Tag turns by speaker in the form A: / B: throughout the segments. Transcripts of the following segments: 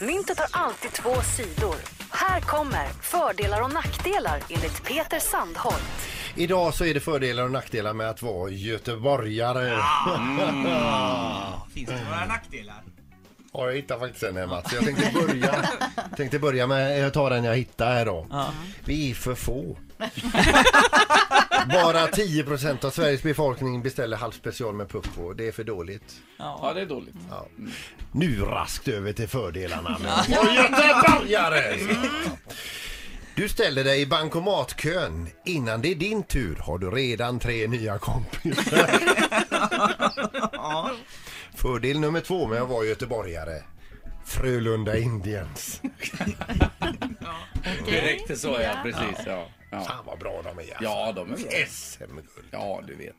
A: Myntet har alltid två sidor. Här kommer fördelar och nackdelar enligt Peter Sandholt.
B: Idag så är det fördelar och nackdelar med att vara göteborgare.
C: Finns det några nackdelar?
B: Har jag hittat faktiskt en här Mats. Jag tänkte börja, tänkte börja med, jag tar den jag hittar här då. Vi är för få. Bara 10% av Sveriges befolkning beställer halv special med pucko. Det är för dåligt.
D: Ja, det är dåligt.
B: Nu raskt över till fördelarna med vår göteborgare! Du ställer dig i bankomatkön. Innan det är din tur har du redan tre nya kompisar. Fördel nummer två med att vara göteborgare. Frölunda Indians.
D: Det räckte så, ja. Precis, ja. Ja,
B: Fan vad bra de är. alltså.
D: ja de är bra.
B: SM-guld.
D: Ja, du vet.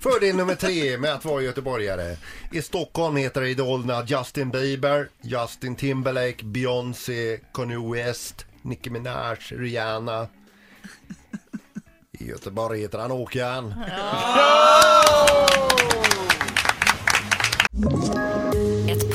B: Fördel nummer tre med att vara göteborgare. I Stockholm heter idolerna Justin Bieber, Justin Timberlake, Beyoncé, Kanye West, Nicki Minaj, Rihanna. I Göteborg heter han Åkan.
E: Ett